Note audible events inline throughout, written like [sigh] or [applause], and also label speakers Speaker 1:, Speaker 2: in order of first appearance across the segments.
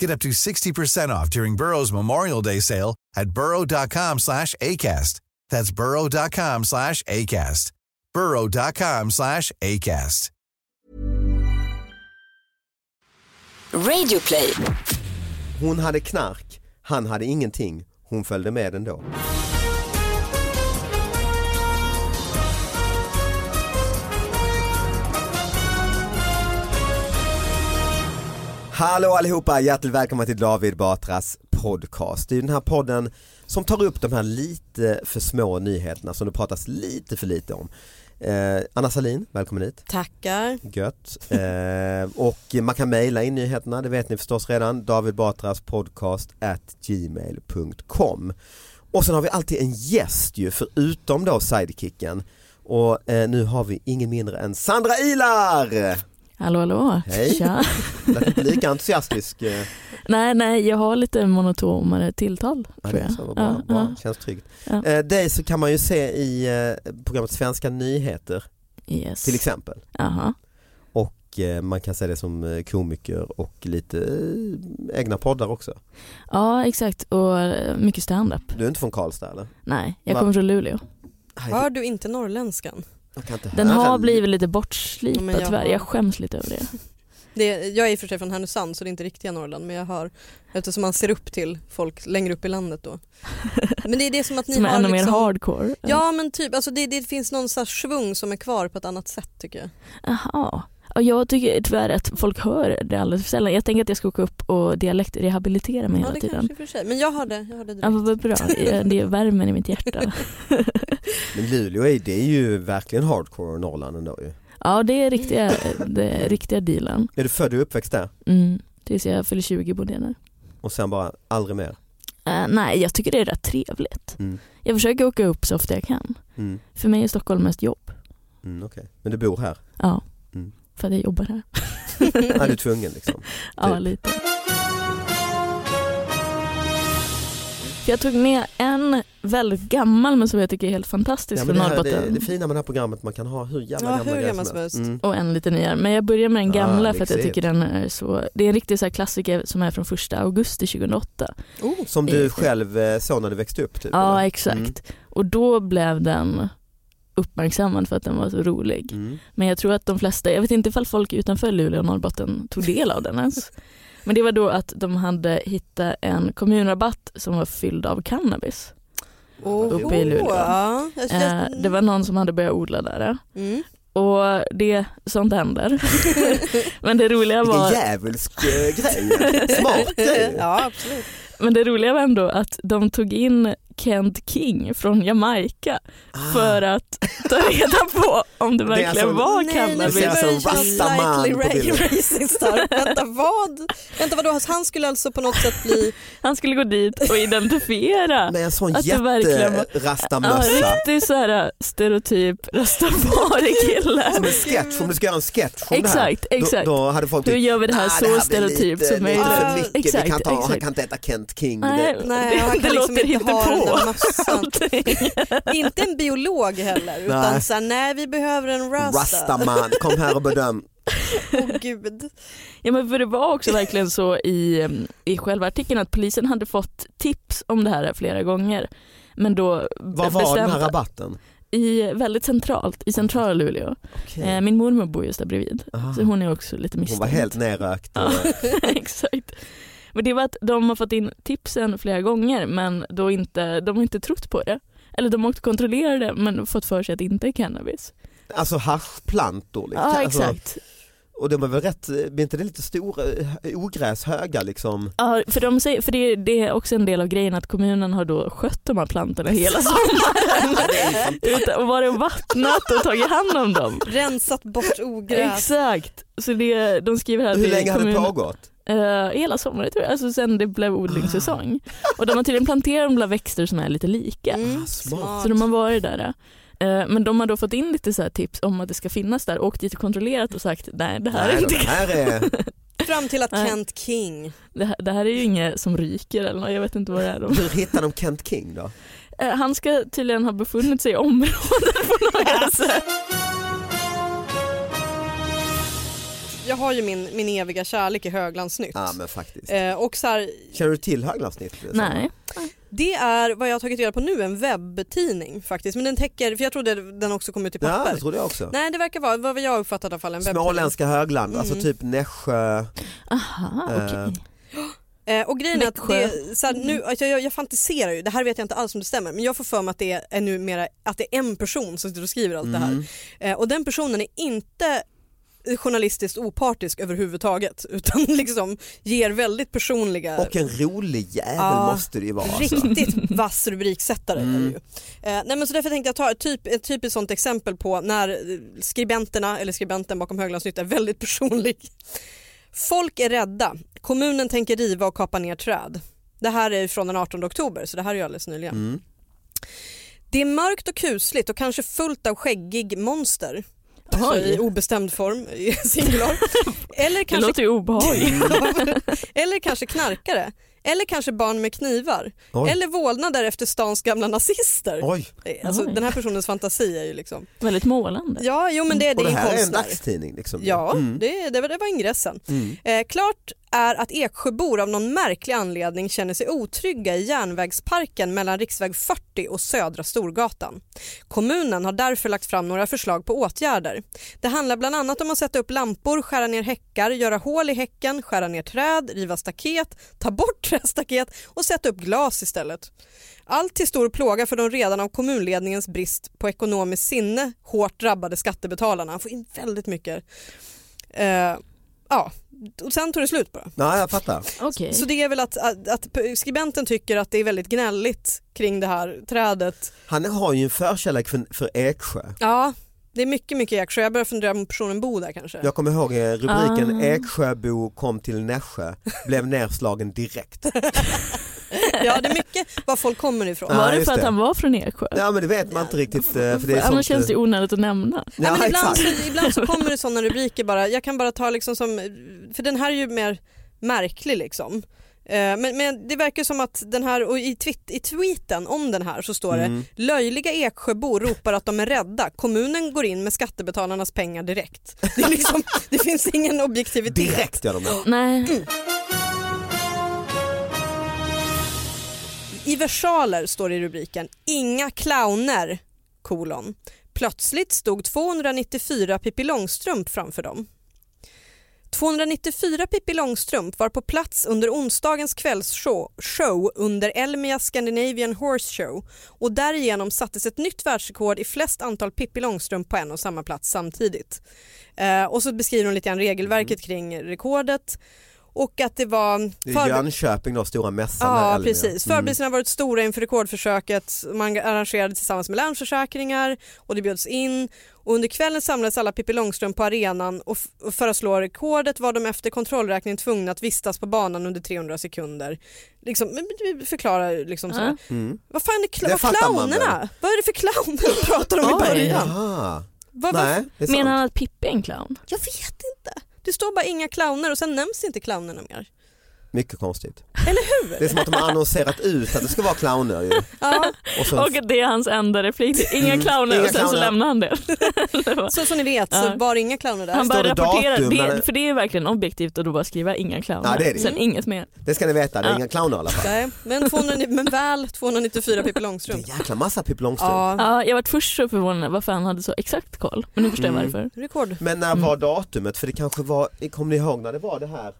Speaker 1: Get up to 60% off during Burrow's Memorial Day sale at burrow.com slash ACAST. That's burrow.com slash ACAST. burrow.com slash ACAST.
Speaker 2: Radio play.
Speaker 3: Hon hade knark, han hade ingenting, hon följde med ändå. Hallå allihopa, hjärtligt välkomna till David Batras podcast. Det är ju den här podden som tar upp de här lite för små nyheterna som det pratas lite för lite om. Eh, Anna Salin, välkommen hit.
Speaker 4: Tackar.
Speaker 3: Gött. Eh, och man kan mejla in nyheterna, det vet ni förstås redan. David Batras podcast at gmail.com. Och sen har vi alltid en gäst ju, förutom då sidekicken. Och eh, nu har vi ingen mindre än Sandra Ilar!
Speaker 5: Hallå hallå!
Speaker 3: Hej. [laughs]
Speaker 5: Tja.
Speaker 3: Lät inte lika entusiastisk. eh,
Speaker 5: Nej nej, jag har lite monotomare tilltal
Speaker 3: Ja,
Speaker 5: tror
Speaker 3: det är
Speaker 5: jag.
Speaker 3: så, vad bra,
Speaker 5: ja,
Speaker 3: bra. Känns tryggt.
Speaker 5: Ja.
Speaker 3: Eh, dig så kan man ju se i eh, programmet Svenska nyheter
Speaker 5: ja. Yes.
Speaker 3: till exempel.
Speaker 5: Jaha.
Speaker 3: Och eh, man kan se det som eh, komiker och lite eh, egna poddar också.
Speaker 5: Ja exakt och eh, mycket standup.
Speaker 3: Du är inte från Karlstad eller?
Speaker 5: Nej, jag
Speaker 3: Va?
Speaker 5: kommer från Luleå.
Speaker 4: Hör du inte norrländskan?
Speaker 3: Jag kan inte
Speaker 5: Den
Speaker 3: höra
Speaker 5: har
Speaker 3: li-
Speaker 5: blivit lite
Speaker 4: Ja,
Speaker 5: bortslipad
Speaker 4: men jag-
Speaker 5: tyvärr, jag skäms lite över det.
Speaker 4: Det, jag är i och för sig från Härnösand så det är inte riktiga Norrland men jag hör eftersom man ser upp till folk längre upp i landet
Speaker 5: [laughs]
Speaker 4: då. Men det är det som att ni
Speaker 5: Som är
Speaker 4: har
Speaker 5: ännu mer
Speaker 4: liksom,
Speaker 5: hardcore.
Speaker 4: Ja men typ, alltså det, det finns någon slags svung som är kvar på ett annat sätt tycker jag.
Speaker 5: Jaha. Ja, Jag tycker tyvärr att folk hör det alldeles för sällan. Jag tänker att jag ska åka upp och dialektrehabilitera mig
Speaker 4: Ja
Speaker 5: hela
Speaker 4: det
Speaker 5: tiden.
Speaker 4: kanske i och för sig, men jag har det, jag har det
Speaker 5: Ja,
Speaker 4: direkt.
Speaker 5: vad bra, Ja, det är värmen i
Speaker 4: [laughs]
Speaker 5: mitt hjärta.
Speaker 3: Men Luleå är, det är ju verkligen hardcore Norrland ändå ju.
Speaker 5: Ja det är riktiga, det är riktiga dealen.
Speaker 3: Är du född och uppväxt där?
Speaker 5: Mm. Tills jag fyller 20 bodde jag där.
Speaker 3: Och sen bara aldrig mer?
Speaker 5: Eh, nej, jag tycker det är rätt trevligt.
Speaker 3: Mm.
Speaker 5: Jag försöker åka upp så ofta jag kan.
Speaker 3: Mm.
Speaker 5: För mig är Stockholm mest jobb.
Speaker 3: Mm, okej. Men du bor här?
Speaker 5: Ja,
Speaker 3: Mm.
Speaker 5: för att jag jobbar
Speaker 3: [laughs]
Speaker 5: här.
Speaker 3: Är du är tvungen liksom?
Speaker 5: Ja,
Speaker 3: Typ.
Speaker 5: lite. Jag tog med en väldigt gammal men som jag tycker är helt fantastisk
Speaker 3: Ja, men
Speaker 5: från
Speaker 3: det, här, det,
Speaker 5: Norrbotten.
Speaker 3: det fina med det här programmet, man kan ha hur jävla
Speaker 4: Ja,
Speaker 3: gamla
Speaker 4: hur
Speaker 3: grejer
Speaker 4: gammal som helst.
Speaker 3: Mm.
Speaker 5: Och en lite nyare. Men jag börjar med den
Speaker 3: Ah,
Speaker 5: gamla för att jag
Speaker 3: lyxigt.
Speaker 5: tycker den är så. Det är en riktig så här klassiker som är från 1 augusti 2008.
Speaker 3: Oh, som du själv eh, såg när du växte upp typ?
Speaker 5: Ja
Speaker 3: eller?
Speaker 5: exakt.
Speaker 3: Mm.
Speaker 5: Och då blev den uppmärksammad för att den var så rolig.
Speaker 3: Mm.
Speaker 5: Men jag tror att de flesta, jag vet inte ifall folk utanför Luleå och Norrbotten tog del av den ens. Men det var då att de hade hittat en kommunrabatt som var fylld av cannabis. Uppe i Luleå.
Speaker 4: Ja, jag,
Speaker 5: Eh,
Speaker 4: jag,
Speaker 5: det var någon som hade börjat odla där. [laughs]
Speaker 4: mm.
Speaker 5: Och det, sånt händer. men, det roliga
Speaker 3: Vilken
Speaker 5: var,
Speaker 3: djävulsk eh, grej, smart
Speaker 5: [laughs]
Speaker 3: grej.
Speaker 4: [laughs] ja absolut.
Speaker 5: men det roliga var ändå att de tog in Kent King från Jamaica för att ta reda på om det verkligen
Speaker 3: alltså-
Speaker 5: var
Speaker 4: Nej,
Speaker 3: Det
Speaker 4: nu
Speaker 5: cannabis.
Speaker 3: ser
Speaker 4: börjar
Speaker 3: alltså
Speaker 4: det kännas
Speaker 3: vassa man
Speaker 4: slightly
Speaker 3: på bilden.
Speaker 4: ra- racist här. Vänta vad? Vänta vadå, han skulle alltså på något sätt bli,
Speaker 5: Han skulle gå dit och identifiera.
Speaker 3: Med en sån
Speaker 5: Att det verkligen var- Ja,
Speaker 3: jätterastamössa.
Speaker 5: riktig så här äh, stereotyp rastafari-kille.
Speaker 3: Som en sketch, om du ska göra en sketch om
Speaker 5: Exakt,
Speaker 3: det här.
Speaker 5: exakt.
Speaker 3: Då, då hade folk
Speaker 5: Hur gör vi det här
Speaker 3: "Ah,
Speaker 5: så
Speaker 3: blir
Speaker 5: stereotypt
Speaker 3: lite,
Speaker 5: som
Speaker 3: lite
Speaker 5: möjligt?"
Speaker 3: för mycket. vi
Speaker 5: Exakt,
Speaker 3: kan ta, Han
Speaker 5: exakt.
Speaker 3: kan inte äta Kent King.
Speaker 5: Nej,
Speaker 3: Det,
Speaker 4: Nej,
Speaker 5: [laughs] det,
Speaker 4: han kan
Speaker 5: det
Speaker 4: liksom
Speaker 5: låter
Speaker 4: inte
Speaker 5: inte
Speaker 4: ha
Speaker 5: på. på
Speaker 4: hela
Speaker 5: [laughs]
Speaker 4: [laughs] massan.
Speaker 5: allting.
Speaker 4: Inte en biolog heller utan
Speaker 3: Nej.
Speaker 4: så här, nej vi behöver en rasta.
Speaker 3: Rastaman, kom här och
Speaker 5: [laughs]
Speaker 3: bedöm.
Speaker 4: Åh gud.
Speaker 5: Ja men för det var också verkligen så i, em, i själva artikeln att polisen hade fått tips om det här flera gånger. Men då
Speaker 3: Vad var den här rabatten?
Speaker 5: i väldigt centralt, i centrala Luleå.
Speaker 3: Okej.
Speaker 5: Eh, min mormor bor just där bredvid
Speaker 3: Aha.
Speaker 5: så hon är också lite
Speaker 3: Hon
Speaker 5: misstänkt.
Speaker 3: var helt nerrökt.
Speaker 5: Ja, [laughs] exakt. Men det var att de har fått in tipsen flera gånger men då inte, de har inte trott på det. Eller de har åkt och kontrollerat det men fått för sig att det inte är cannabis.
Speaker 3: [laughs] Alltså haschplantor.
Speaker 5: Ja
Speaker 3: Liksom. Alltså,
Speaker 5: exakt.
Speaker 3: och de är väl rätt, eh, blir inte det lite stora eh, ogräshöga liksom?
Speaker 5: Ja, för de säger, för det, det är också en del av grejen att kommunen har då skött de här
Speaker 3: [laughs]
Speaker 5: plantorna hela sommaren. Utan- och varit och vattnat och tagit hand om dem.
Speaker 4: Rensat bort ogräs.
Speaker 5: Exakt. Så det, de skriver här att
Speaker 3: Hur
Speaker 5: det är
Speaker 3: länge har det
Speaker 5: kommunen-
Speaker 3: pågått?
Speaker 5: Eh, hela sommaren tror jag, alltså sen det blev odlingssäsong. [laughs] Och de har tydligen planterat de där växter som är lite lika.
Speaker 4: Mm,
Speaker 3: Ah, smart.
Speaker 5: Så de har varit där. eh. Men de har då fått in lite så här tips om att det ska finnas där, åkt dit och kontrollerat och sagt nej det här, är,
Speaker 3: Nej,
Speaker 5: inte,
Speaker 3: det här är
Speaker 4: Fram till att
Speaker 5: Nej.
Speaker 4: Kent King,
Speaker 5: [laughs] det, här, det här är ju inget som ryker eller något, jag vet inte vad det är. De,
Speaker 3: Hur hittar de Kent King då?
Speaker 5: Eh, han ska tydligen ha befunnit sig i området på något sätt.
Speaker 4: jag har ju min, min eviga kärlek i höglandsnytt.
Speaker 3: Ja men faktiskt.
Speaker 4: Eh, och så här,
Speaker 3: Känner du till Höglandsnytt?
Speaker 5: Nej.
Speaker 4: det är vad jag har tagit reda på nu, en webbtidning faktiskt. Men den täcker, för jag trodde den också kom ut i
Speaker 3: Ja
Speaker 4: papper.
Speaker 3: det trodde jag också.
Speaker 4: Nej det verkar vara, vad jag uppfattade i alla fall, en webbtidning.
Speaker 3: Småländska högland, alltså
Speaker 4: Mm.
Speaker 3: typ Nässjö.
Speaker 5: Aha, okej.
Speaker 3: Eh,
Speaker 4: Eh, och grejen är att
Speaker 5: Växjö.
Speaker 4: det, så här,
Speaker 3: Mm.
Speaker 4: nu, att jag, jag, jag fantiserar ju, det här vet jag inte alls om det stämmer men jag får för mig att det är, är numera, att det är en person som sitter och skriver allt det här.
Speaker 3: Mm.
Speaker 4: Eh, och den personen är inte journalistiskt opartisk överhuvudtaget [laughs] utan liksom ger väldigt personliga
Speaker 3: Och en rolig jävel
Speaker 4: Ja.
Speaker 3: måste det ju vara. Alltså.
Speaker 4: Riktigt vass rubriksättare är det ju. Eh, nej men så därför tänkte jag ta ett, typ, ett typiskt sånt exempel på när eh, skribenterna eller skribenten bakom Höglandsnytt är väldigt personlig. Folk är rädda. Kommunen tänker riva och kapa ner träd. Det här är från den 18 oktober så det här är ju alldeles nyligen.
Speaker 3: Mm.
Speaker 4: Det är mörkt och kusligt och kanske fullt av skäggig monster. Alltså
Speaker 5: Oj.
Speaker 4: i obestämd form, i [laughs] singular. Eller
Speaker 5: Det
Speaker 4: kanske
Speaker 5: låter ju
Speaker 4: [laughs]
Speaker 5: obehagligt.
Speaker 4: eller kanske knarkare. Eller kanske barn med knivar.
Speaker 3: Oj.
Speaker 4: Eller vålnader efter stans gamla nazister.
Speaker 3: Oj,
Speaker 4: Alltså,
Speaker 5: Oj.
Speaker 4: den här personens fantasi är ju liksom...
Speaker 5: Väldigt målande.
Speaker 4: Ja, jo men det, det
Speaker 3: och
Speaker 4: är
Speaker 3: det
Speaker 4: en
Speaker 3: här är en
Speaker 4: konstnär.
Speaker 3: dagstidning liksom.
Speaker 4: Ja,
Speaker 3: Mm.
Speaker 4: det, det, var- det var ingressen.
Speaker 3: Mm.
Speaker 4: Eh, klart är att Eksjöbor av någon märklig anledning känner sig otrygga i järnvägsparken mellan riksväg 40 och Södra Storgatan. Kommunen har därför lagt fram några förslag på åtgärder. Det handlar bland annat om att sätta upp lampor, skära ner häckar, göra hål i häcken, skära ner träd, riva staket, ta bort [laughs] trästaket och sätta upp glas istället. Allt till stor plåga för de redan av kommunledningens brist på ekonomiskt sinne hårt drabbade skattebetalarna. Han får in väldigt mycket. Eh, ja, och sen tog det slut bara.
Speaker 3: Nej jag fattar.
Speaker 5: Okej.
Speaker 4: Så det är väl att, att, att skribenten tycker att det är väldigt gnälligt kring det här trädet.
Speaker 3: Han har ju en förkärlek för, för Eksjö.
Speaker 4: Ja, det är mycket, mycket Eksjö. Jag börjar fundera om personen bor där kanske.
Speaker 3: Jag kommer ihåg eh, rubriken
Speaker 5: Ah.
Speaker 3: Eksjöbo kom till Nässjö, blev nerslagen
Speaker 4: [laughs]
Speaker 3: direkt.
Speaker 4: Ja, det är mycket var folk kommer ifrån.
Speaker 3: Ja,
Speaker 5: Var det
Speaker 3: just
Speaker 5: för att
Speaker 3: det.
Speaker 5: han var från Eksjö?
Speaker 3: Ja men det vet man inte riktigt. eh, För det är
Speaker 5: Annars
Speaker 3: sånt,
Speaker 5: känns det
Speaker 3: eh,
Speaker 5: onödigt att nämna.
Speaker 4: Nej, men
Speaker 3: Ja,
Speaker 4: ibland,
Speaker 3: exakt.
Speaker 4: så, ibland så kommer det sådana rubriker bara. Jag kan bara ta liksom som, för den här är ju mer märklig liksom. Eh, Men, men det verkar som att den här, och i, tweet, i tweeten om den här så står det
Speaker 3: Mm.
Speaker 4: löjliga Eksjöbor ropar att de är rädda. Kommunen går in med skattebetalarnas pengar direkt. Det, är liksom, det finns ingen objektivitet.
Speaker 3: Direkt gör de det.
Speaker 5: Nej.
Speaker 4: I versaler står det i rubriken “Inga clowner”, kolon. Plötsligt stod 294 Pippi Långstrump framför dem. 294 Pippi Långstrump var på plats under onsdagens kvällsshow show under Elmia Scandinavian Horse Show och därigenom sattes ett nytt världsrekord i flest antal Pippi Långstrump på en och samma plats samtidigt. Eh, och så beskriver hon lite grann regelverket kring rekordet och att det var...
Speaker 3: Det är
Speaker 4: förbe-
Speaker 3: Jönköping då, stora mässan. här i
Speaker 4: Ja,
Speaker 3: Älmia.
Speaker 4: precis. Förberedelserna har varit stora inför rekordförsöket. Man arrangerade tillsammans med Länsförsäkringar och det bjöds in. Och under kvällen samlades alla Pippi Långstrump på arenan och, f- och för att slå rekordet var de efter kontrollräkningen tvungna att vistas på banan under 300 sekunder. Liksom, men vi förklarar liksom så här.
Speaker 5: Ja.
Speaker 3: Mm.
Speaker 4: Vad fan är cl-
Speaker 3: Det
Speaker 4: vad
Speaker 3: fattar man
Speaker 4: clownerna? Vad är det för clowner de pratar om i
Speaker 5: Oj.
Speaker 4: början?
Speaker 3: Mm. Jaha,
Speaker 4: Vad, vad,
Speaker 3: nej det är
Speaker 5: Menar
Speaker 3: sant.
Speaker 5: han att Pippi är en clown?
Speaker 4: jag vet inte. Det står bara inga clowner och sen nämns inte clownerna mer.
Speaker 3: Mycket konstigt.
Speaker 4: Eller hur?
Speaker 3: Det är som att de har annonserat ut att det ska vara clowner ju.
Speaker 5: [laughs]
Speaker 4: Ja.
Speaker 3: Och sen,
Speaker 5: Och att det är hans enda replik, det är inga
Speaker 3: Mm,
Speaker 5: clowner
Speaker 3: inga
Speaker 5: och sen så
Speaker 3: clowner.
Speaker 5: lämnar han det. [laughs] Det var-
Speaker 4: Så som ni vet så
Speaker 5: Ja.
Speaker 4: var det inga clowner där.
Speaker 5: Han bara
Speaker 3: står det
Speaker 5: rapporterar,
Speaker 3: datum, men-
Speaker 5: det, för det är verkligen objektivt och då bara skriva inga clowner.
Speaker 3: Ja, det är det.
Speaker 5: Sen inget mer.
Speaker 3: det ska ni veta, det är inga clowner i alla fall.
Speaker 4: Nej, men, 200, men väl 294 Pippi
Speaker 3: Det är
Speaker 4: Långstrump.
Speaker 3: en jäkla massa Pippi Långstrump.
Speaker 4: Ja,
Speaker 5: Ja, jag var först så förvånad varför han hade så exakt koll, men nu förstår jag
Speaker 3: Mm.
Speaker 5: varför.
Speaker 4: rekord.
Speaker 3: Men när var datumet? För det kanske var, kommer ni ihåg när det var det här?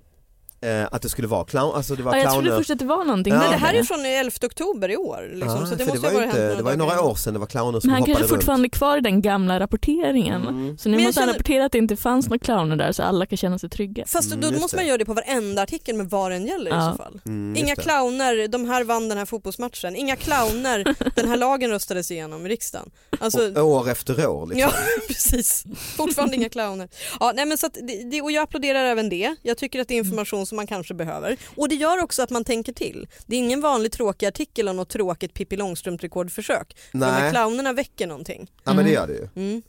Speaker 3: Eh, att det skulle vara clown, alltså det var
Speaker 5: Ja, jag
Speaker 3: clowner.
Speaker 5: trodde först att det var någonting
Speaker 3: Ja.
Speaker 5: med
Speaker 4: Men det här är ju från 11 oktober i år. Liksom,
Speaker 3: Ah,
Speaker 4: så det
Speaker 3: för
Speaker 4: måste
Speaker 3: det
Speaker 4: ju
Speaker 3: var,
Speaker 4: ha
Speaker 3: ju
Speaker 4: varit
Speaker 3: inte,
Speaker 4: hänt
Speaker 3: det var ju
Speaker 4: dagar
Speaker 3: några
Speaker 4: innan.
Speaker 3: år sedan det var clowner som
Speaker 5: Men han kanske
Speaker 3: hoppade runt.
Speaker 5: fortfarande är kvar i den gamla rapporteringen.
Speaker 3: Mm.
Speaker 5: Så nu
Speaker 4: Men jag
Speaker 5: måste han
Speaker 4: känner-
Speaker 5: rapportera att det inte fanns några clowner där så alla kan känna sig trygga.
Speaker 4: Fast
Speaker 3: Mm,
Speaker 4: då
Speaker 3: just
Speaker 4: måste
Speaker 3: det.
Speaker 4: man göra det på varenda artikel med vad den gäller i
Speaker 5: Ja.
Speaker 4: så fall.
Speaker 3: Mm, just
Speaker 4: Inga
Speaker 3: det.
Speaker 4: clowner, de här vann den här fotbollsmatchen. Inga clowner, den här lagen röstades igenom i riksdagen. Alltså,
Speaker 3: Och År efter år liksom.
Speaker 4: Ja [laughs] precis, fortfarande inga clowner. Ja, nej, men så att det, det, och jag applåderar även det. Jag tycker att det är information som man kanske behöver. Och det gör också att man tänker till. Det är ingen vanlig tråkig artikel om något tråkigt Pippi Långstrump-rekordförsök. För De här
Speaker 3: Nej.
Speaker 4: clownerna väcker någonting.
Speaker 3: Ja men det gör det ju.
Speaker 4: Mm.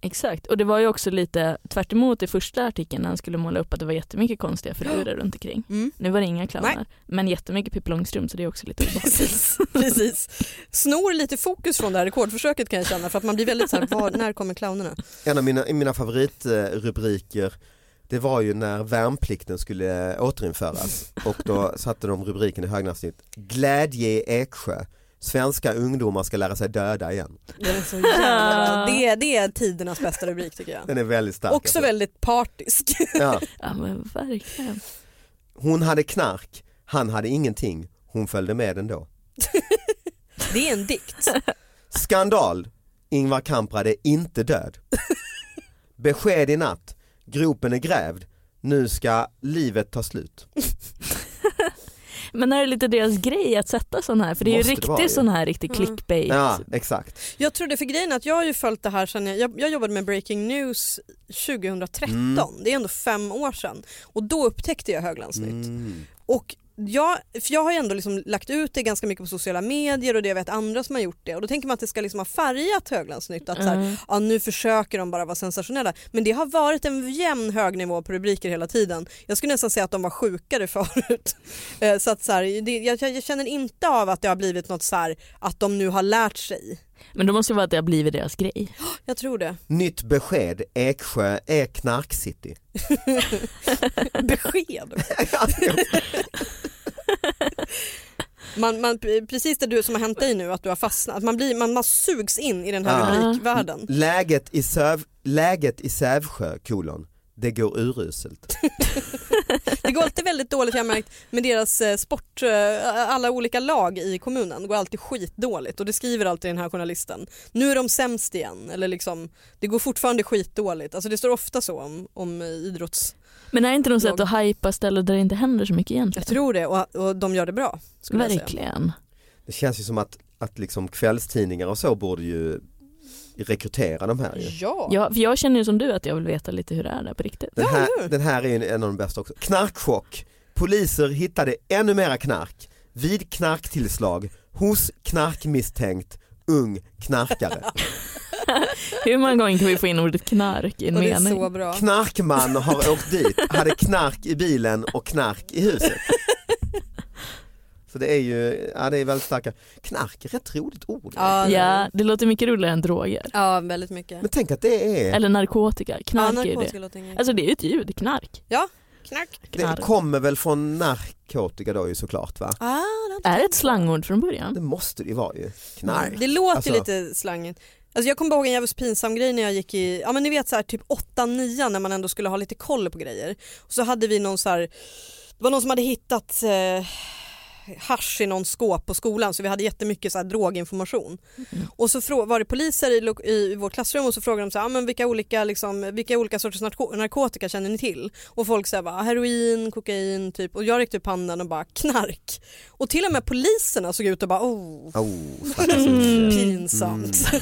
Speaker 5: Exakt, och det var ju också lite tvärt emot i första artikeln när han skulle måla upp att det var jättemycket konstiga figurer runt omkring.
Speaker 4: Mm.
Speaker 5: Nu var det inga clowner,
Speaker 4: Nej.
Speaker 5: men jättemycket Pippi Långstrump så det är också lite obehagligt.
Speaker 4: Precis, precis. Snor lite fokus från det här rekordförsöket kan jag känna för att man blir väldigt så här, var, när kommer clownerna?
Speaker 3: En av mina, mina favoritrubriker det var ju när värnplikten skulle återinföras och då satte de rubriken i högnastigt Glädje i Eksjö Svenska ungdomar ska lära sig döda igen.
Speaker 4: Det är, så jävla, det, det är tidernas bästa rubrik tycker jag.
Speaker 3: Den är väldigt stark.
Speaker 4: Också
Speaker 3: alltså.
Speaker 4: väldigt partisk. [laughs]
Speaker 3: ja.
Speaker 5: Ja men verkligen.
Speaker 3: Hon hade knark, han hade ingenting, hon följde med ändå.
Speaker 4: Det är en dikt.
Speaker 3: Skandal, Ingvar Kamprad är inte död. Besked i natt, gropen är grävd, nu ska livet ta slut.
Speaker 5: Men är det lite deras grej att sätta sån här? För det är
Speaker 3: Måste
Speaker 5: ju
Speaker 3: det vara ju.
Speaker 5: riktigt sån här riktig clickbait.
Speaker 3: Ja, exakt.
Speaker 4: Jag trodde för grejen är att jag har ju följt det här sedan jag, jag, jag jobbade med Breaking News 2013. Det är ändå fem år sedan och då upptäckte jag Höglandsnytt.
Speaker 3: Mm.
Speaker 4: Och jag, för jag har ju ändå liksom lagt ut det ganska mycket på sociala medier och det jag vet andra som har gjort det och då tänker man att det ska liksom ha färgat Höglandsnytt att så här, ja, nu försöker de bara vara sensationella men det har varit en jämn hög nivå på rubriker hela tiden. Jag skulle nästan säga att de var sjukare [laughs] förut. Eh, så att så här, det, jag, jag känner inte av att det har blivit något så här att de nu har lärt sig
Speaker 5: Men då måste det vara att det har blivit deras grej.
Speaker 4: jag tror det.
Speaker 3: Nytt besked, Eksjö är knarkcity.
Speaker 4: Besked. Man, man, precis det du som har hänt dig nu, att du har fastnat. Man, blir, man, man sugs in i den här
Speaker 3: Ja.
Speaker 4: rubrikvärlden.
Speaker 3: [laughs] Läget i, Söv, läget i Sävsjö, kolon, det går uruselt.
Speaker 4: Det går alltid väldigt dåligt jag har märkt med deras eh, sport, eh, alla olika lag i kommunen. Det går alltid skitdåligt och det skriver alltid den här journalisten. Nu är de sämst igen eller liksom, det går fortfarande skitdåligt. Alltså det står ofta så om, om eh, idrotts...
Speaker 5: Men är det inte något
Speaker 4: Jag-
Speaker 5: sätt att hajpa ställen där det inte händer så mycket egentligen?
Speaker 4: Jag tror det och, och de gör det bra. Skulle jag säga.
Speaker 5: Verkligen.
Speaker 3: Det känns ju som att, att liksom kvällstidningar och så borde ju rekrytera de här ju.
Speaker 4: Ja.
Speaker 5: Ja, för jag känner ju som du att jag vill veta lite hur det är där på riktigt.
Speaker 3: Den
Speaker 4: Ja,
Speaker 3: här,
Speaker 4: nu.
Speaker 3: den här är ju en av de bästa också. Knarkchock. Poliser hittade ännu mera knark vid knarktillslag hos knarkmisstänkt ung knarkare.
Speaker 5: Hur många gånger kan vi få in ordet knark i en
Speaker 4: Och det är
Speaker 5: mening?
Speaker 4: så bra.
Speaker 3: Knarkman har åkt dit, hade knark i bilen och knark i huset. Så det är ju, ja det är väldigt starka. Knark är rätt roligt ord.
Speaker 4: Ja, det är det.
Speaker 5: Ja, det låter mycket roligare än droger.
Speaker 4: Ja, väldigt mycket.
Speaker 3: Men tänk att det är,
Speaker 5: Eller narkotika, knark är ju det.
Speaker 4: Alltså,
Speaker 5: Alltså det är ju ett ljud, knark.
Speaker 4: knack.
Speaker 3: det
Speaker 5: knark.
Speaker 3: kommer väl från narkotika då ju såklart va?
Speaker 4: Ah,
Speaker 5: Är det ett slangord från början?
Speaker 3: Det måste det ju vara ju. Knark.
Speaker 4: Det låter
Speaker 3: Alltså-
Speaker 4: lite slangigt. Alltså jag kommer ihåg en jävligt pinsam grej när jag gick i, ja men ni vet så här typ 8-9 när man ändå skulle ha lite koll på grejer. Och så hade vi någon så här, det var någon som hade hittat eh, hasch i någon skåp på skolan så vi hade jättemycket så här droginformation. Och så frå- var det poliser i, lo- i vårt klassrum och så frågade de så här, ah, men vilka, olika, liksom, vilka olika sorters narko- narkotika känner ni till? Och folk sa bara heroin, kokain typ och jag räckte upp handen och bara knark. Och till och med poliserna såg ut och bara oh
Speaker 3: Oh, stackars
Speaker 5: Mm.
Speaker 3: unge.
Speaker 4: pinsamt.
Speaker 3: Mm.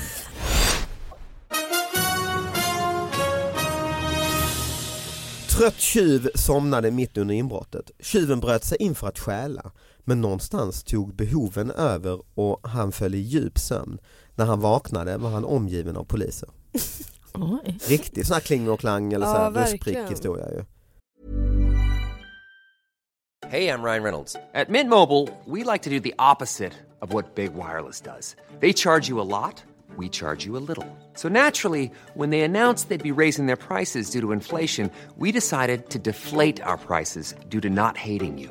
Speaker 3: Trött tjuv somnade mitt under inbrottet. Tjuven bröt sig in för att stjäla. Men någonstans tog behoven över och han föll i djup sömn. När han vaknade var han omgiven av poliser.
Speaker 5: Oj.
Speaker 3: Riktig sån här kling och klang eller så
Speaker 4: Ja,
Speaker 3: här
Speaker 4: verkligen.
Speaker 3: ruskprick historia ju.
Speaker 6: Hey, I'm Ryan Reynolds. At Mint Mobile, we like to do the opposite of what Big Wireless does. They charge you a lot, we charge you a little. So naturally, when they announced they'd be raising their prices due to inflation, we decided to deflate our prices due to not hating you.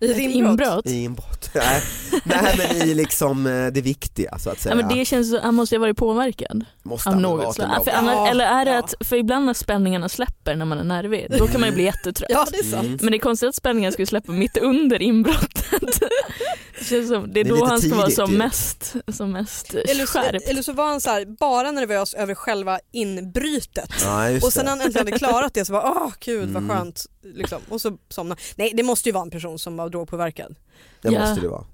Speaker 5: I ett inbrott? [laughs]
Speaker 3: i inbrott? [laughs] Nej. Nej men i liksom eh, det viktiga så att säga.
Speaker 5: Ja, men det känns så, han måste ju ha varit påverkad
Speaker 3: Måste
Speaker 5: av
Speaker 3: han ha
Speaker 5: något
Speaker 3: varit
Speaker 5: slag.
Speaker 3: ändå.
Speaker 5: För annars,
Speaker 4: Ja,
Speaker 5: eller är det
Speaker 4: ja.
Speaker 5: att, för ibland när spänningarna släpper när man är nervig, då kan man ju bli jättetrött.
Speaker 4: Ja, det är
Speaker 3: Mm.
Speaker 4: sant.
Speaker 5: Men det är konstigt att spänningen skulle släppa mitt under inbrottet. Det, känns som, det är
Speaker 3: Det är
Speaker 5: då
Speaker 3: lite
Speaker 5: han ska vara
Speaker 3: tidigt
Speaker 5: som
Speaker 3: ju.
Speaker 5: mest, som mest
Speaker 4: Eller så,
Speaker 5: skärpt.
Speaker 4: eller så var han så här, bara nervös över själva inbrytet.
Speaker 3: Ja, just
Speaker 4: Och sen
Speaker 3: det.
Speaker 4: när han äntligen hade klarat det så bara åh gud vad
Speaker 3: Mm.
Speaker 4: skönt. Liksom. Och så somnade Nej det måste ju vara en person som var drogpåverkad.
Speaker 3: Det
Speaker 5: Ja.
Speaker 3: måste det vara.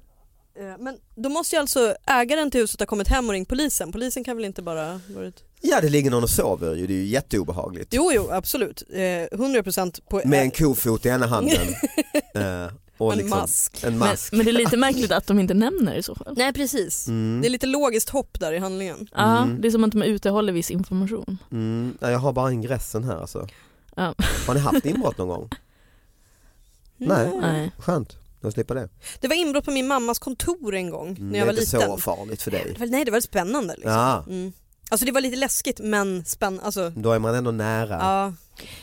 Speaker 4: Eh, Men då måste ju alltså ägaren till huset ha kommit hem och ringt polisen. Polisen kan väl inte bara varit...
Speaker 3: Ja det ligger någon och sover ju, det är ju jätteobehagligt.
Speaker 4: Jo jo absolut. Eh, 100% på...
Speaker 3: Med en kofot i ena handen.
Speaker 4: [laughs]
Speaker 3: eh, och
Speaker 4: en
Speaker 3: liksom,
Speaker 4: mask.
Speaker 3: En
Speaker 5: Men,
Speaker 3: mask.
Speaker 5: men det är lite märkligt att de inte nämner det i så fall.
Speaker 4: Nej precis.
Speaker 3: Mm.
Speaker 4: Det är lite logiskt hopp där i handlingen.
Speaker 5: Ja,
Speaker 3: Mm.
Speaker 5: Det är som att de utehåller viss information.
Speaker 3: Mm, nej, jag har bara ingressen här alltså.
Speaker 5: Ja.
Speaker 3: [laughs] Har ni haft inbrott någon gång? Nej.
Speaker 5: Nej.
Speaker 3: Skönt, då slipper det. Mm,
Speaker 4: Det var inbrott på min mammas kontor en gång när jag
Speaker 3: det
Speaker 4: var
Speaker 3: är inte
Speaker 4: liten.
Speaker 3: så farligt för
Speaker 4: Det [laughs]
Speaker 3: dig.
Speaker 4: var, nej det var spännande liksom.
Speaker 3: Ja,
Speaker 4: Mm. Alltså det var lite läskigt men spännande. Alltså,
Speaker 3: då är man ändå nära.
Speaker 4: ja.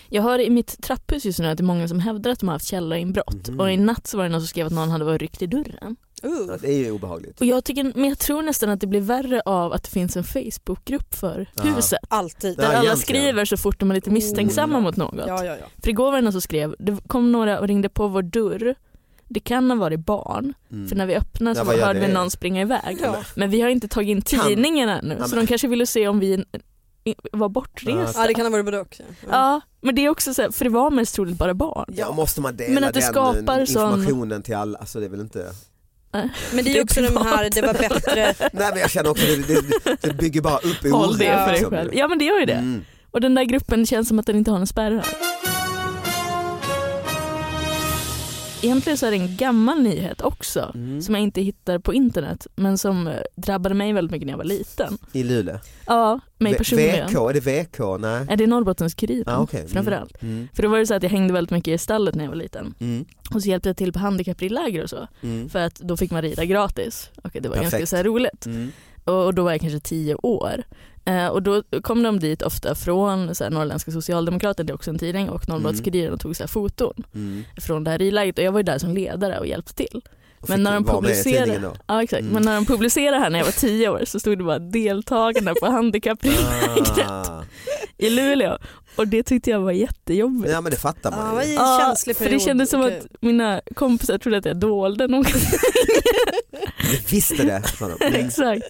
Speaker 5: Jag hör i mitt trapphus just nu att det är många som hävdar att de har haft källarinbrott
Speaker 3: Mhm.
Speaker 5: och i natt så var det någon som skrev att någon hade varit ryckt i dörren.
Speaker 3: Ja,
Speaker 4: Uh.
Speaker 3: Det är ju obehagligt.
Speaker 5: Och jag tycker, men jag tror nästan att det blir värre av att det finns en Facebookgrupp för
Speaker 3: Ja.
Speaker 5: huset.
Speaker 4: Alltid.
Speaker 3: Ja,
Speaker 5: Där alla
Speaker 3: egentligen.
Speaker 5: skriver så fort de är lite misstänksamma
Speaker 4: Oh.
Speaker 5: mot något.
Speaker 4: Ja, ja, ja.
Speaker 5: För igår var det någon som skrev, det kom några och ringde på vår dörr. Det kan ha varit barn,
Speaker 3: Mm.
Speaker 5: för när vi öppnade så
Speaker 3: Ja, vad gör
Speaker 5: hörde vi
Speaker 3: det?
Speaker 5: någon
Speaker 3: [laughs]
Speaker 5: springa iväg.
Speaker 4: Ja.
Speaker 5: Men vi har inte tagit in
Speaker 3: Kan-
Speaker 5: tidningen ännu,
Speaker 3: Ja,
Speaker 5: så
Speaker 3: men-
Speaker 5: de kanske ville se om vi i- var bortresta.
Speaker 4: ja det kan ha varit både och. Ja.
Speaker 5: Ja, men det är också så här, för det var mest troligt bara barn.
Speaker 3: Ja, måste man dela
Speaker 5: Men att det
Speaker 3: den
Speaker 5: skapar sån-
Speaker 3: informationen till alla, alltså det är väl inte...
Speaker 4: Men det är ju också den här, det var [laughs] bättre,
Speaker 3: Nej men jag känner också det, det,
Speaker 5: [laughs]
Speaker 3: det bygger bara upp oro.
Speaker 5: Håll det för dig
Speaker 3: liksom.
Speaker 5: själv. Ja men det gör ju det.
Speaker 3: Mm.
Speaker 5: Och den där gruppen känns som att den inte har någon spärrar. Egentligen så är det en gammal nyhet också
Speaker 3: Mm.
Speaker 5: som jag inte hittar på internet men som eh, drabbade mig väldigt mycket när jag var liten.
Speaker 3: I Luleå?
Speaker 5: Ja, mig
Speaker 3: V-
Speaker 5: personligen.
Speaker 3: VK, är det VK? Nej.
Speaker 5: Är det är Norrbottens-Kuriren
Speaker 3: Ah, okej. Mm.
Speaker 5: framförallt?
Speaker 3: Mm.
Speaker 5: För då var det så att jag hängde väldigt mycket i stallet när jag var liten
Speaker 3: Mm.
Speaker 5: och så hjälpte jag till på handikappridläger och så
Speaker 3: Mm.
Speaker 5: för att då fick man rida gratis och det var ganska
Speaker 3: Perfekt.
Speaker 5: så här roligt.
Speaker 3: Mm.
Speaker 5: och, och då var jag kanske tio år. Eh, och då kom de dit ofta från så här, Norrländska Socialdemokraten, det är också en tidning, och Norrbottenskuriren och tog så här, foton
Speaker 3: Mm.
Speaker 5: från det här ridlägret och jag var ju där som ledare och hjälpte till.
Speaker 3: Och
Speaker 5: Men
Speaker 3: fick
Speaker 5: när de
Speaker 3: vara med i
Speaker 5: publicerar-
Speaker 3: tidningen
Speaker 5: [laughs]
Speaker 3: då?
Speaker 5: Ja exakt,
Speaker 3: Mm.
Speaker 5: men när de publicerade här när jag var tio år så stod det bara deltagarna
Speaker 3: [laughs]
Speaker 5: på handikappridlägret
Speaker 3: Ah.
Speaker 5: i Luleå och det tyckte jag var jättejobbigt.
Speaker 3: Ja men det fattar
Speaker 4: ja,
Speaker 3: man
Speaker 4: vad
Speaker 3: ju.
Speaker 4: i
Speaker 5: Ja,
Speaker 4: en känslig
Speaker 5: för
Speaker 4: period.
Speaker 5: det kändes som
Speaker 4: Okej.
Speaker 5: att mina kompisar trodde att jag dolde någonting.
Speaker 3: Jag visste det. sa
Speaker 5: [laughs]
Speaker 3: de. Mm.
Speaker 5: exakt,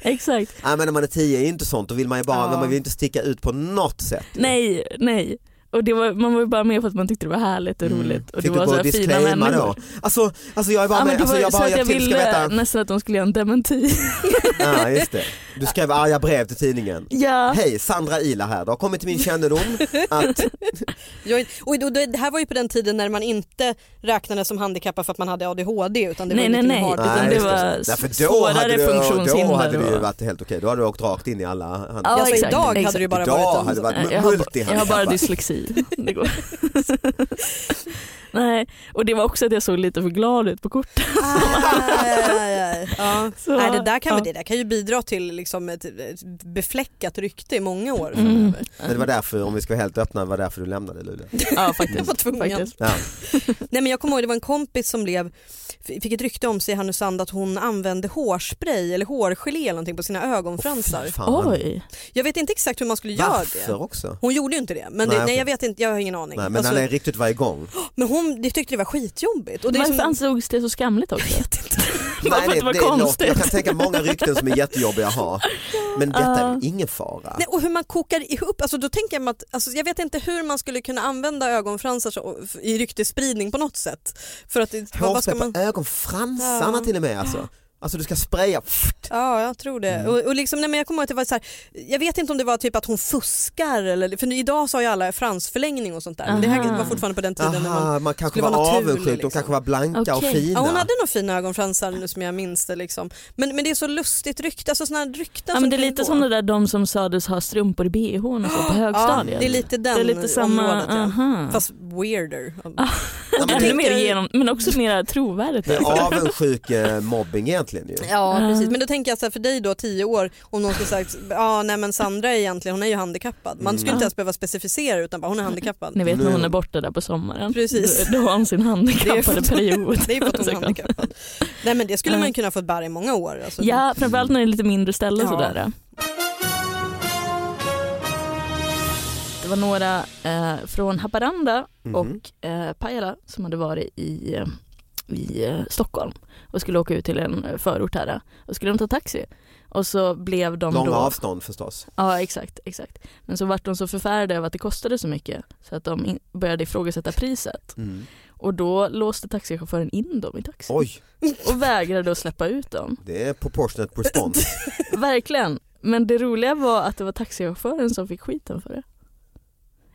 Speaker 5: exakt.
Speaker 3: Ja, men när man är tio är ju inte sånt, då vill man ju bara,
Speaker 4: Ja.
Speaker 3: men man vill inte sticka ut på något sätt.
Speaker 5: Nej, nej. Och det var, man var ju bara med för att man tyckte det var härligt och
Speaker 3: Mm.
Speaker 5: roligt. Och
Speaker 3: Fick
Speaker 5: det
Speaker 3: du
Speaker 5: var
Speaker 3: gå
Speaker 5: så
Speaker 3: och
Speaker 5: här fina
Speaker 3: disclaima då?
Speaker 5: människor.
Speaker 3: Alltså, alltså jag är bara
Speaker 5: Ja,
Speaker 3: med,
Speaker 5: men det
Speaker 3: alltså
Speaker 5: var
Speaker 3: jag
Speaker 5: så
Speaker 3: bara
Speaker 5: att jag
Speaker 3: hjälpt till, ska
Speaker 5: ville [laughs]
Speaker 3: veta.
Speaker 5: nästan att de skulle göra
Speaker 3: [laughs]
Speaker 5: en dementi.
Speaker 3: Ja, just det. Du skrev arga brev till tidningen.
Speaker 5: ja.
Speaker 3: Hej, Sandra Ila här. Det har kommit till min kännedom
Speaker 5: [laughs]
Speaker 3: att
Speaker 4: Jag, är- och då, det här var ju på den tiden när man inte räknades som handikappad för att man hade ADHD utan det
Speaker 5: Nej,
Speaker 4: var
Speaker 5: nej,
Speaker 4: lite
Speaker 5: nej.
Speaker 4: hard.
Speaker 5: Utan
Speaker 3: Nej,
Speaker 5: det
Speaker 3: just
Speaker 5: var
Speaker 3: Nej, för då hade
Speaker 5: svårare
Speaker 3: du,
Speaker 5: funktionshinder.
Speaker 3: Då hade det ju
Speaker 5: och-
Speaker 3: varit helt okej, då hade du åkt rakt in i alla hand.
Speaker 5: Ja,
Speaker 4: alltså,
Speaker 5: exakt,
Speaker 4: idag hade
Speaker 5: exakt.
Speaker 4: det ju bara
Speaker 3: Idag
Speaker 4: varit en-
Speaker 3: hade det varit
Speaker 5: Nej, jag, har, ba- jag har bara
Speaker 3: multihandikappad.
Speaker 5: dyslexi. Det går. [laughs] Nej, och det var också att jag såg lite för glad ut på kortet.
Speaker 4: [laughs] Ja.
Speaker 5: Så-
Speaker 4: Nej, det, där kan,
Speaker 5: ja.
Speaker 4: det där kan ju bidra till liksom ett, ett befläckat rykte i många år
Speaker 5: Mm.
Speaker 4: framöver.
Speaker 3: Men det var därför, om vi ska vara helt öppna, det var därför du lämnade Luleå.
Speaker 5: Ja,
Speaker 4: Jag
Speaker 5: faktiskt.
Speaker 4: var tvungen.
Speaker 5: faktiskt. [laughs]
Speaker 3: Ja.
Speaker 4: Nej, men jag kommer ihåg det var en kompis som blev, fick ett rykte om sig i Härnösand att hon använde hårspray eller hårgelé eller någonting på sina ögonfransar.
Speaker 3: Fan.
Speaker 5: Oj,
Speaker 4: Jag vet inte exakt hur man skulle göra
Speaker 3: Varför
Speaker 4: det.
Speaker 3: också?
Speaker 4: Hon gjorde ju inte det, men
Speaker 3: Nej,
Speaker 4: det,
Speaker 3: okej.
Speaker 4: nej, jag vet inte, jag har ingen aning.
Speaker 3: Nej, men
Speaker 4: Alltså,
Speaker 3: när det är riktigt varje gång.
Speaker 4: men hon det tyckte det var skitjobbigt. Och det är
Speaker 5: varför
Speaker 4: som-
Speaker 5: ansågs det så skamligt också?
Speaker 3: Nej,
Speaker 5: för att det var
Speaker 3: låter-
Speaker 5: konstigt.
Speaker 3: Jag kan tänka många rykten som är jättejobbiga att
Speaker 4: [laughs]
Speaker 3: ha. Men detta är väl ingen fara?
Speaker 4: Nej, och hur man kokar ihop, alltså, då tänker jag mig att, alltså, jag vet inte hur man skulle kunna använda ögonfransar så, i ryktesspridning på något sätt. För att, det- vad
Speaker 3: Hårspray
Speaker 4: ska man...
Speaker 3: på ögonfransarna
Speaker 4: Ja.
Speaker 3: till och med alltså. Alltså du ska spraya.
Speaker 4: Ja, jag tror det.
Speaker 3: Mm.
Speaker 4: Och, och liksom, nej, men jag kommer ihåg att det var så här, jag vet inte om det var typ att hon fuskar, eller, för idag så har ju alla fransförlängning och sånt där. Men det här
Speaker 5: Aha.
Speaker 4: var fortfarande på den tiden när man
Speaker 3: Aha, man kanske
Speaker 4: skulle vara
Speaker 3: var
Speaker 4: naturlig,
Speaker 3: avundsjuk, de
Speaker 4: liksom.
Speaker 3: kanske var blanka och
Speaker 5: Okej.
Speaker 3: fina.
Speaker 4: Ja, hon hade nog fina ögonfransar nu som jag minns det. Liksom. Men, men det är så lustigt rykte, alltså sådana här rykten
Speaker 5: Ja,
Speaker 4: som
Speaker 5: men det är
Speaker 4: kan
Speaker 5: lite
Speaker 4: gå.
Speaker 5: som det där de som sades ha strumpor i bhn och
Speaker 3: Ah,
Speaker 5: så på
Speaker 4: Ja,
Speaker 5: högstadiet.
Speaker 4: det är lite den
Speaker 5: det är lite samma,
Speaker 4: området. Ja.
Speaker 5: aha. Ah.
Speaker 4: Fast weirder.
Speaker 3: Ja, men
Speaker 5: Ännu
Speaker 3: det-
Speaker 5: mer
Speaker 4: tänker-
Speaker 5: genom, men också mer trovärdigt.
Speaker 3: det är avundsjuk eh, mobbing egentligen ju.
Speaker 4: Ja precis, men då tänker jag så här, för dig då 10 år om någon skulle sagt ja nej men Sandra är egentligen, hon är ju handikappad. Man skulle
Speaker 5: Mm.
Speaker 4: inte ens behöva specificera utan bara hon är handikappad.
Speaker 5: Ni vet när hon
Speaker 3: Nu-
Speaker 5: är borta där på sommaren.
Speaker 4: Precis.
Speaker 5: Då, då har hon sin handikappade
Speaker 4: Det är- [laughs]
Speaker 5: period. Alltså,
Speaker 4: Det är ju för
Speaker 5: [laughs]
Speaker 4: att hon är handikappad. Nej men det skulle
Speaker 5: Ja.
Speaker 4: man ju kunna få bära i många år. Alltså.
Speaker 5: Ja, framförallt när det är lite mindre ställe
Speaker 4: Ja.
Speaker 5: sådär. Det var några eh, från Haparanda
Speaker 3: Mhm.
Speaker 5: och eh, Pajala som hade varit i, eh, i eh, Stockholm och skulle åka ut till en eh, förort här eh, och skulle de ta taxi. Och så blev de
Speaker 3: Långa
Speaker 5: då...
Speaker 3: avstånd förstås.
Speaker 5: Ja exakt, exakt. Men så vart de så förfärade över att det kostade så mycket så att de in- började ifrågasätta priset.
Speaker 3: Mm.
Speaker 5: Och då låste taxichauffören in dem i taxin
Speaker 3: Oj,
Speaker 5: och vägrade att släppa ut dem.
Speaker 3: det är proportionate
Speaker 4: [laughs]
Speaker 3: response.
Speaker 5: Verkligen. Men det roliga var att det var taxichauffören som fick skiten för det.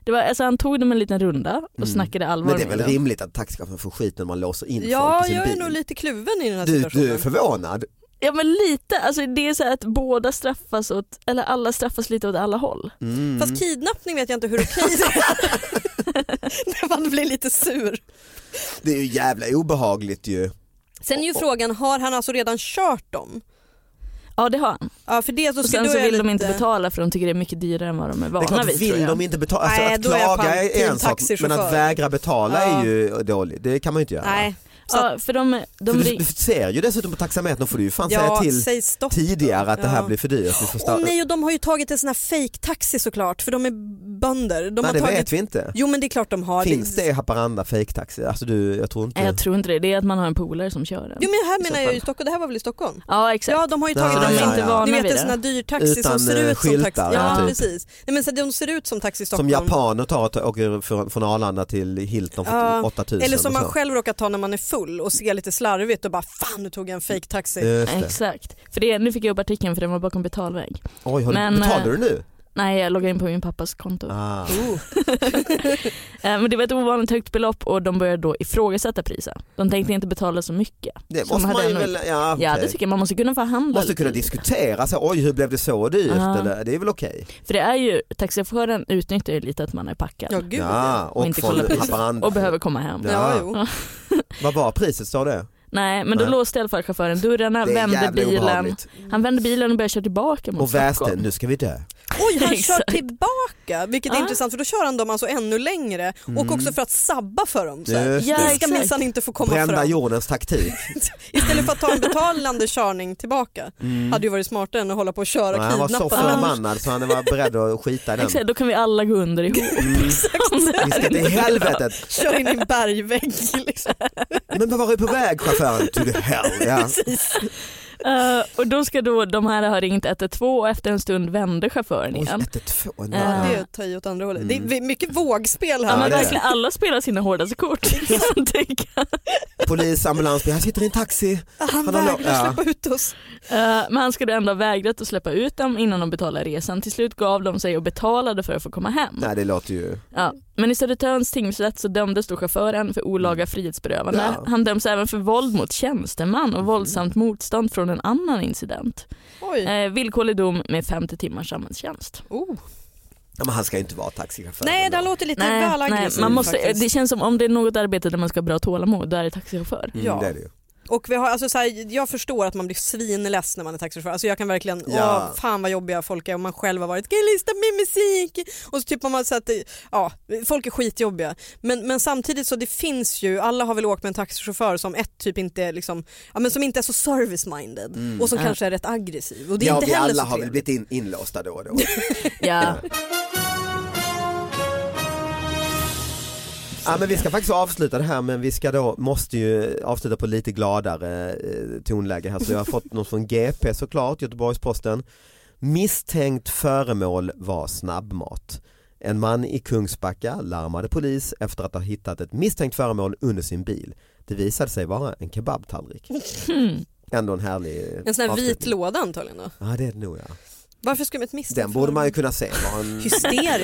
Speaker 5: det var, alltså han tog dem en liten runda och
Speaker 3: Mm.
Speaker 5: snackade allvar
Speaker 3: Men det är
Speaker 5: med
Speaker 3: väl
Speaker 5: dem.
Speaker 3: rimligt att taxichauffören får skit när man låser in
Speaker 4: Ja,
Speaker 3: folk i sin
Speaker 4: jag är
Speaker 3: bil.
Speaker 4: nog lite kluven i den här
Speaker 3: du,
Speaker 4: situationen.
Speaker 3: du är förvånad?
Speaker 5: Ja men lite, alltså det är så här att båda straffas åt, eller alla straffas lite åt alla håll.
Speaker 3: Mm.
Speaker 4: Fast kidnappning vet jag inte hur okej det är. [laughs] När man blir lite sur.
Speaker 3: Det är ju jävla obehagligt ju.
Speaker 4: Sen är ju frågan, har han alltså redan kört dem?
Speaker 5: Ja det har han.
Speaker 4: Ja, för det, så,
Speaker 5: Och
Speaker 4: då
Speaker 5: sen
Speaker 4: är
Speaker 5: så
Speaker 4: jag
Speaker 5: vill de
Speaker 4: lite-
Speaker 5: inte betala för de tycker det är mycket dyrare än vad de är
Speaker 3: det är
Speaker 5: vana
Speaker 3: klart,
Speaker 5: vid tror
Speaker 3: vill
Speaker 5: jag.
Speaker 3: de inte betala, alltså,
Speaker 4: Nej,
Speaker 3: att
Speaker 4: då är jag
Speaker 3: klaga
Speaker 4: fan
Speaker 3: är en
Speaker 4: till
Speaker 3: sak men att
Speaker 4: taxichaufför.
Speaker 3: vägra betala är
Speaker 4: Ja.
Speaker 3: ju dåligt, det kan man ju inte göra.
Speaker 4: Nej,
Speaker 5: Ja för de, de
Speaker 3: för du,
Speaker 5: ring-
Speaker 3: du ser ju dessutom på taxametern får du ju fan
Speaker 4: ja,
Speaker 3: säga till
Speaker 4: säg stopp.
Speaker 3: tidigare att det här
Speaker 4: Ja.
Speaker 3: blir för dyrt. Vi får sta-
Speaker 4: Åh nej, och de har ju tagit en sån här fake-taxi såklart för de är bönder. De
Speaker 3: Nej, det
Speaker 4: har tagit...
Speaker 3: vet vi inte.
Speaker 4: Jo men det är klart de har.
Speaker 3: Finns det i Haparanda fejktaxi? Alltså du, jag tror inte.
Speaker 5: Nej jag tror inte det, det är att man har en polare som kör den.
Speaker 4: Jo men här
Speaker 5: I så
Speaker 4: menar jag ju i
Speaker 5: fall.
Speaker 4: Stockholm, det här var väl i Stockholm?
Speaker 5: Ja exakt.
Speaker 4: Ja de har ju
Speaker 3: Ja,
Speaker 4: tagit
Speaker 5: de är
Speaker 3: ja,
Speaker 5: inte
Speaker 3: ja.
Speaker 5: vana
Speaker 4: Ni vet
Speaker 5: vid
Speaker 4: en
Speaker 5: det.
Speaker 4: sån här dyrtaxi
Speaker 3: Utan,
Speaker 4: som ser
Speaker 3: eh,
Speaker 4: ut som taxi.
Speaker 3: skyltar,
Speaker 4: Ja
Speaker 5: ja, typ.
Speaker 4: precis. Nej, men så de ser ut som taxi i
Speaker 3: Som
Speaker 4: Stockholm.
Speaker 3: japaner tar och tar- åker från, från Arlanda till Hilton för
Speaker 4: Ja,
Speaker 3: 8000
Speaker 4: Eller som
Speaker 3: och
Speaker 4: man
Speaker 3: så.
Speaker 4: själv råkar ta när man är full och ser lite slarvigt och bara fan nu tog jag en fake taxi
Speaker 3: Just det.
Speaker 5: Exakt. För det, nu fick jag upp artikeln för den var bakom betalväg.
Speaker 3: Oj, har
Speaker 5: Men,
Speaker 3: du, betalar
Speaker 5: eh,
Speaker 3: du nu?
Speaker 5: Nej jag loggade in på min pappas konto.
Speaker 3: Ah.
Speaker 4: Oh,
Speaker 5: Eh, Men det var ett ovanligt högt belopp och de började då ifrågasätta priset. De tänkte inte betala så mycket.
Speaker 3: Det
Speaker 5: Som
Speaker 3: måste man
Speaker 5: hade
Speaker 3: ju
Speaker 5: nog-
Speaker 3: väl, ja,
Speaker 5: Ja
Speaker 3: okej.
Speaker 5: det tycker jag, man måste kunna förhandla.
Speaker 3: Måste
Speaker 5: lite.
Speaker 3: kunna diskutera, så, oj hur blev det så dyrt?
Speaker 5: Ja.
Speaker 3: Eller, det är väl okej?
Speaker 5: För det är ju, taxichauffören utnyttjar ju lite att man är packad
Speaker 4: Ja gud ja.
Speaker 3: Ja, och,
Speaker 5: inte
Speaker 3: från
Speaker 5: kolla priset.
Speaker 3: Haparanda.
Speaker 5: och behöver komma hem.
Speaker 3: Ja.
Speaker 4: Ja, jo.
Speaker 3: Vad var priset sa
Speaker 4: Mm,
Speaker 3: du?
Speaker 5: Nej men då
Speaker 3: Nej.
Speaker 5: låste i alla fall chauffören dörrarna,
Speaker 3: Det är
Speaker 5: vände
Speaker 3: jävla
Speaker 5: bilen.
Speaker 3: obehagligt.
Speaker 5: Han vände bilen och började köra tillbaka mot
Speaker 3: Och väste,
Speaker 5: Stockholm.
Speaker 3: nu ska vi dö.
Speaker 4: Oj han kör
Speaker 5: Exakt.
Speaker 4: tillbaka vilket är
Speaker 5: Ja.
Speaker 4: intressant för då kör han dem alltså ännu längre
Speaker 3: Mm.
Speaker 4: och också för att sabba för dem. Så här.
Speaker 3: Just
Speaker 5: Ja,
Speaker 4: Ni
Speaker 3: det.
Speaker 4: ska
Speaker 5: exakt.
Speaker 4: minsann inte få komma
Speaker 3: Eh. Brända
Speaker 4: fram.
Speaker 3: jordens taktik.
Speaker 4: [laughs] Istället för att ta en betalande körning tillbaka hade ju varit smartare än att hålla på och köra
Speaker 3: Mm. Ja, han var så
Speaker 4: kidnapparen.
Speaker 3: förbannad så han var beredd att skita i den. Mm,
Speaker 5: Exakt, då kan vi alla gå under ihop.
Speaker 3: [laughs]
Speaker 5: Om [laughs] det
Speaker 3: Vi
Speaker 5: här
Speaker 3: ska till
Speaker 5: inte-
Speaker 3: helvetet.
Speaker 4: Kör in i en bergvägg. [laughs] Liksom.
Speaker 3: Men vad var du på väg chauffören? To the hell. Ja.
Speaker 5: Eh, och då ska då de här ha ringt 112 och efter en stund vände chauffören
Speaker 3: Oj,
Speaker 5: igen.
Speaker 3: 112. Ja. Mm.
Speaker 4: Ja, det är att ta i åt andra hållet. Det är mycket vågspel
Speaker 5: Ja,
Speaker 4: här.
Speaker 5: men
Speaker 3: det är
Speaker 5: verkligen, alla spelar sina hårdaste kort kan jag tycka.
Speaker 3: Polis, ambulans, här sitter i en taxi.
Speaker 4: Han
Speaker 3: har lo-
Speaker 4: vägrar
Speaker 3: ja.
Speaker 4: släppa ut oss.
Speaker 5: Eh, Men han skulle ändå ha vägrat att släppa ut dem innan de betalade resan. Till slut gav de sig och betalade för att få komma hem.
Speaker 3: Nej det låter ju...
Speaker 5: Ja. Men i Södertörns tingsrätt så dömdes då chauffören för olaga frihetsberövande.
Speaker 3: Mm. Ja. Mm.
Speaker 5: Han döms även för våld mot tjänsteman och våldsamt motstånd från en annan incident.
Speaker 4: Oj.
Speaker 3: Mm.
Speaker 5: Eh, villkorlig dom med 50 timmars samhällstjänst.
Speaker 4: Oh.
Speaker 3: Ja, men han ska ju inte vara taxichaufför.
Speaker 4: Nej,
Speaker 3: ändå.
Speaker 4: det här låter lite
Speaker 5: Nej,
Speaker 4: väl
Speaker 5: nej,
Speaker 4: aggressivt
Speaker 5: man måste,
Speaker 4: faktiskt.
Speaker 5: det känns som om det är något arbete där man ska ha bra tålamod, då är det taxichaufför.
Speaker 3: Mm,
Speaker 4: Ja.
Speaker 3: det är det ju.
Speaker 4: Och vi har, alltså, så här, jag förstår att man blir svinless när man är taxichaufför. Alltså, jag kan verkligen,
Speaker 3: Ja.
Speaker 4: åh fan vad jobbiga folk är och man själv har varit, kan jag lista med musik? Och så typ har man så att, ja, folk är skitjobbiga. Men, men samtidigt så det finns ju, alla har väl åkt med en taxichaufför som ett typ inte är liksom, ja, men som inte är så service-minded och som
Speaker 5: Ja.
Speaker 4: kanske är rätt aggressiv. Och det är
Speaker 3: Mm. Ja,
Speaker 4: inte
Speaker 3: vi
Speaker 4: heller
Speaker 3: alla
Speaker 4: så
Speaker 3: har väl
Speaker 4: trevligt.
Speaker 3: blivit in, inlåsta då och
Speaker 4: [laughs]
Speaker 3: då.
Speaker 5: Ja.
Speaker 3: ja, men vi ska faktiskt avsluta det här men vi ska då, måste ju avsluta på lite gladare eh, tonläge här så jag har fått något från GP såklart, Göteborgs-Posten. Misstänkt föremål var snabbmat. En man i Kungsbacka larmade polis efter att ha hittat ett misstänkt föremål under sin bil. Det visade sig vara en kebabtallrik. Ändå en härlig
Speaker 4: Hmm. En sån här vit
Speaker 3: avslutning.
Speaker 4: låda antagligen då.
Speaker 3: Ja det är det nog ja.
Speaker 4: Varför skulle man ett misstag
Speaker 3: Den borde man ju kunna se. Var en...
Speaker 4: Hysterisk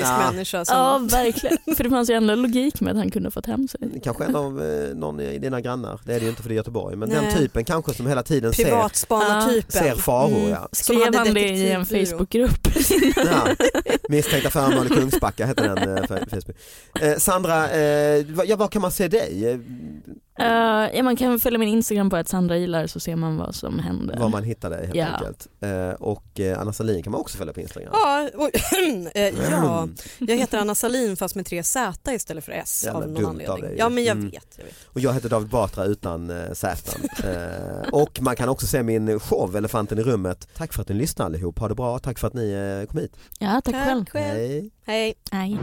Speaker 3: [laughs] Ja.
Speaker 4: människa som...
Speaker 5: ja, verkligen. För det fanns ju ändå logik med att han kunde ha fått hem sig.
Speaker 3: Kanske en av eh, någon i dina grannar, det är det ju inte för det är Göteborg, men den
Speaker 4: Nej.
Speaker 3: typen kanske som hela tiden ser,
Speaker 4: Privatspanartypen.
Speaker 3: ser faror. Ja.
Speaker 4: Mm. Som
Speaker 5: Skrev
Speaker 4: hade
Speaker 5: han det i en
Speaker 4: detektivbyrå.
Speaker 5: Facebookgrupp?
Speaker 3: Ja. Misstänkta föremål i Kungsbacka heter den eh, för- Facebook. Eh, Sandra, eh, va- ja, var kan man se dig? Eh,
Speaker 5: Eh, ja, man kan följa min Instagram på att Sandra gillar så ser man vad som händer.
Speaker 3: Var man hittar dig helt
Speaker 5: Ja.
Speaker 3: enkelt. Eh, och eh, Anna Sahlin kan man också följa på Instagram. Mm.
Speaker 4: Ja, och, [clears throat] eh, ja, jag heter Anna Salin fast med tre Z istället för S
Speaker 3: Jävla
Speaker 4: av
Speaker 3: dumt
Speaker 4: någon
Speaker 3: av
Speaker 4: anledning.
Speaker 3: dig.
Speaker 4: ja men jag
Speaker 3: Mm.
Speaker 4: vet. Jag vet.
Speaker 3: Och jag heter David Batra utan eh, Z. Eh, och man kan också se min show Elefanten i rummet. Tack för att ni lyssnade allihop, ha det bra, tack för att ni eh, kom hit.
Speaker 5: Ja, tack själv.
Speaker 3: Hej.
Speaker 4: Hej.
Speaker 5: Nej.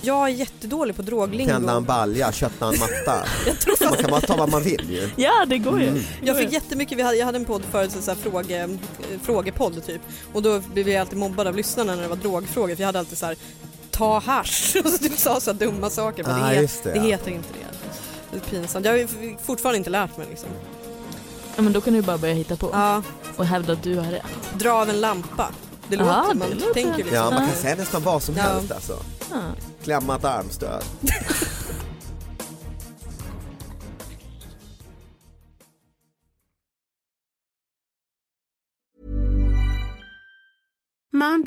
Speaker 4: Jag är jättedålig på
Speaker 3: Tända en
Speaker 4: droglingo.
Speaker 3: balja, köpa en
Speaker 4: [laughs]
Speaker 3: matta. man kan bara ta vad man vill ju.
Speaker 5: Ja, det går ju.
Speaker 4: Jag fick jättemycket, vi hade, jag hade en podd förut, så här fråge, eh, frågepodd typ. Och då blev jag alltid mobbad av lyssnarna när det var drogfrågor för jag hade alltid så här ta hasch [laughs] och så typ sa så här dumma saker. Men
Speaker 3: Ah,
Speaker 4: det, he-
Speaker 3: just det,
Speaker 4: det
Speaker 3: ja.
Speaker 4: heter inte det. Det är pinsamt. Jag har ju f- fortfarande inte lärt mig liksom.
Speaker 5: Ja, men då kan du bara börja hitta på
Speaker 4: Ja,
Speaker 5: och hävda att du har rätt.
Speaker 4: dra av en lampa. Det
Speaker 3: Ah,
Speaker 5: Ja,
Speaker 4: låter
Speaker 5: det
Speaker 4: man
Speaker 5: låter-
Speaker 4: tänker liksom.
Speaker 3: Ja, man kan säga nästan vad som
Speaker 4: Ja.
Speaker 3: helst alltså.
Speaker 5: Ja.
Speaker 3: Klämma ett armstöd.
Speaker 7: Mom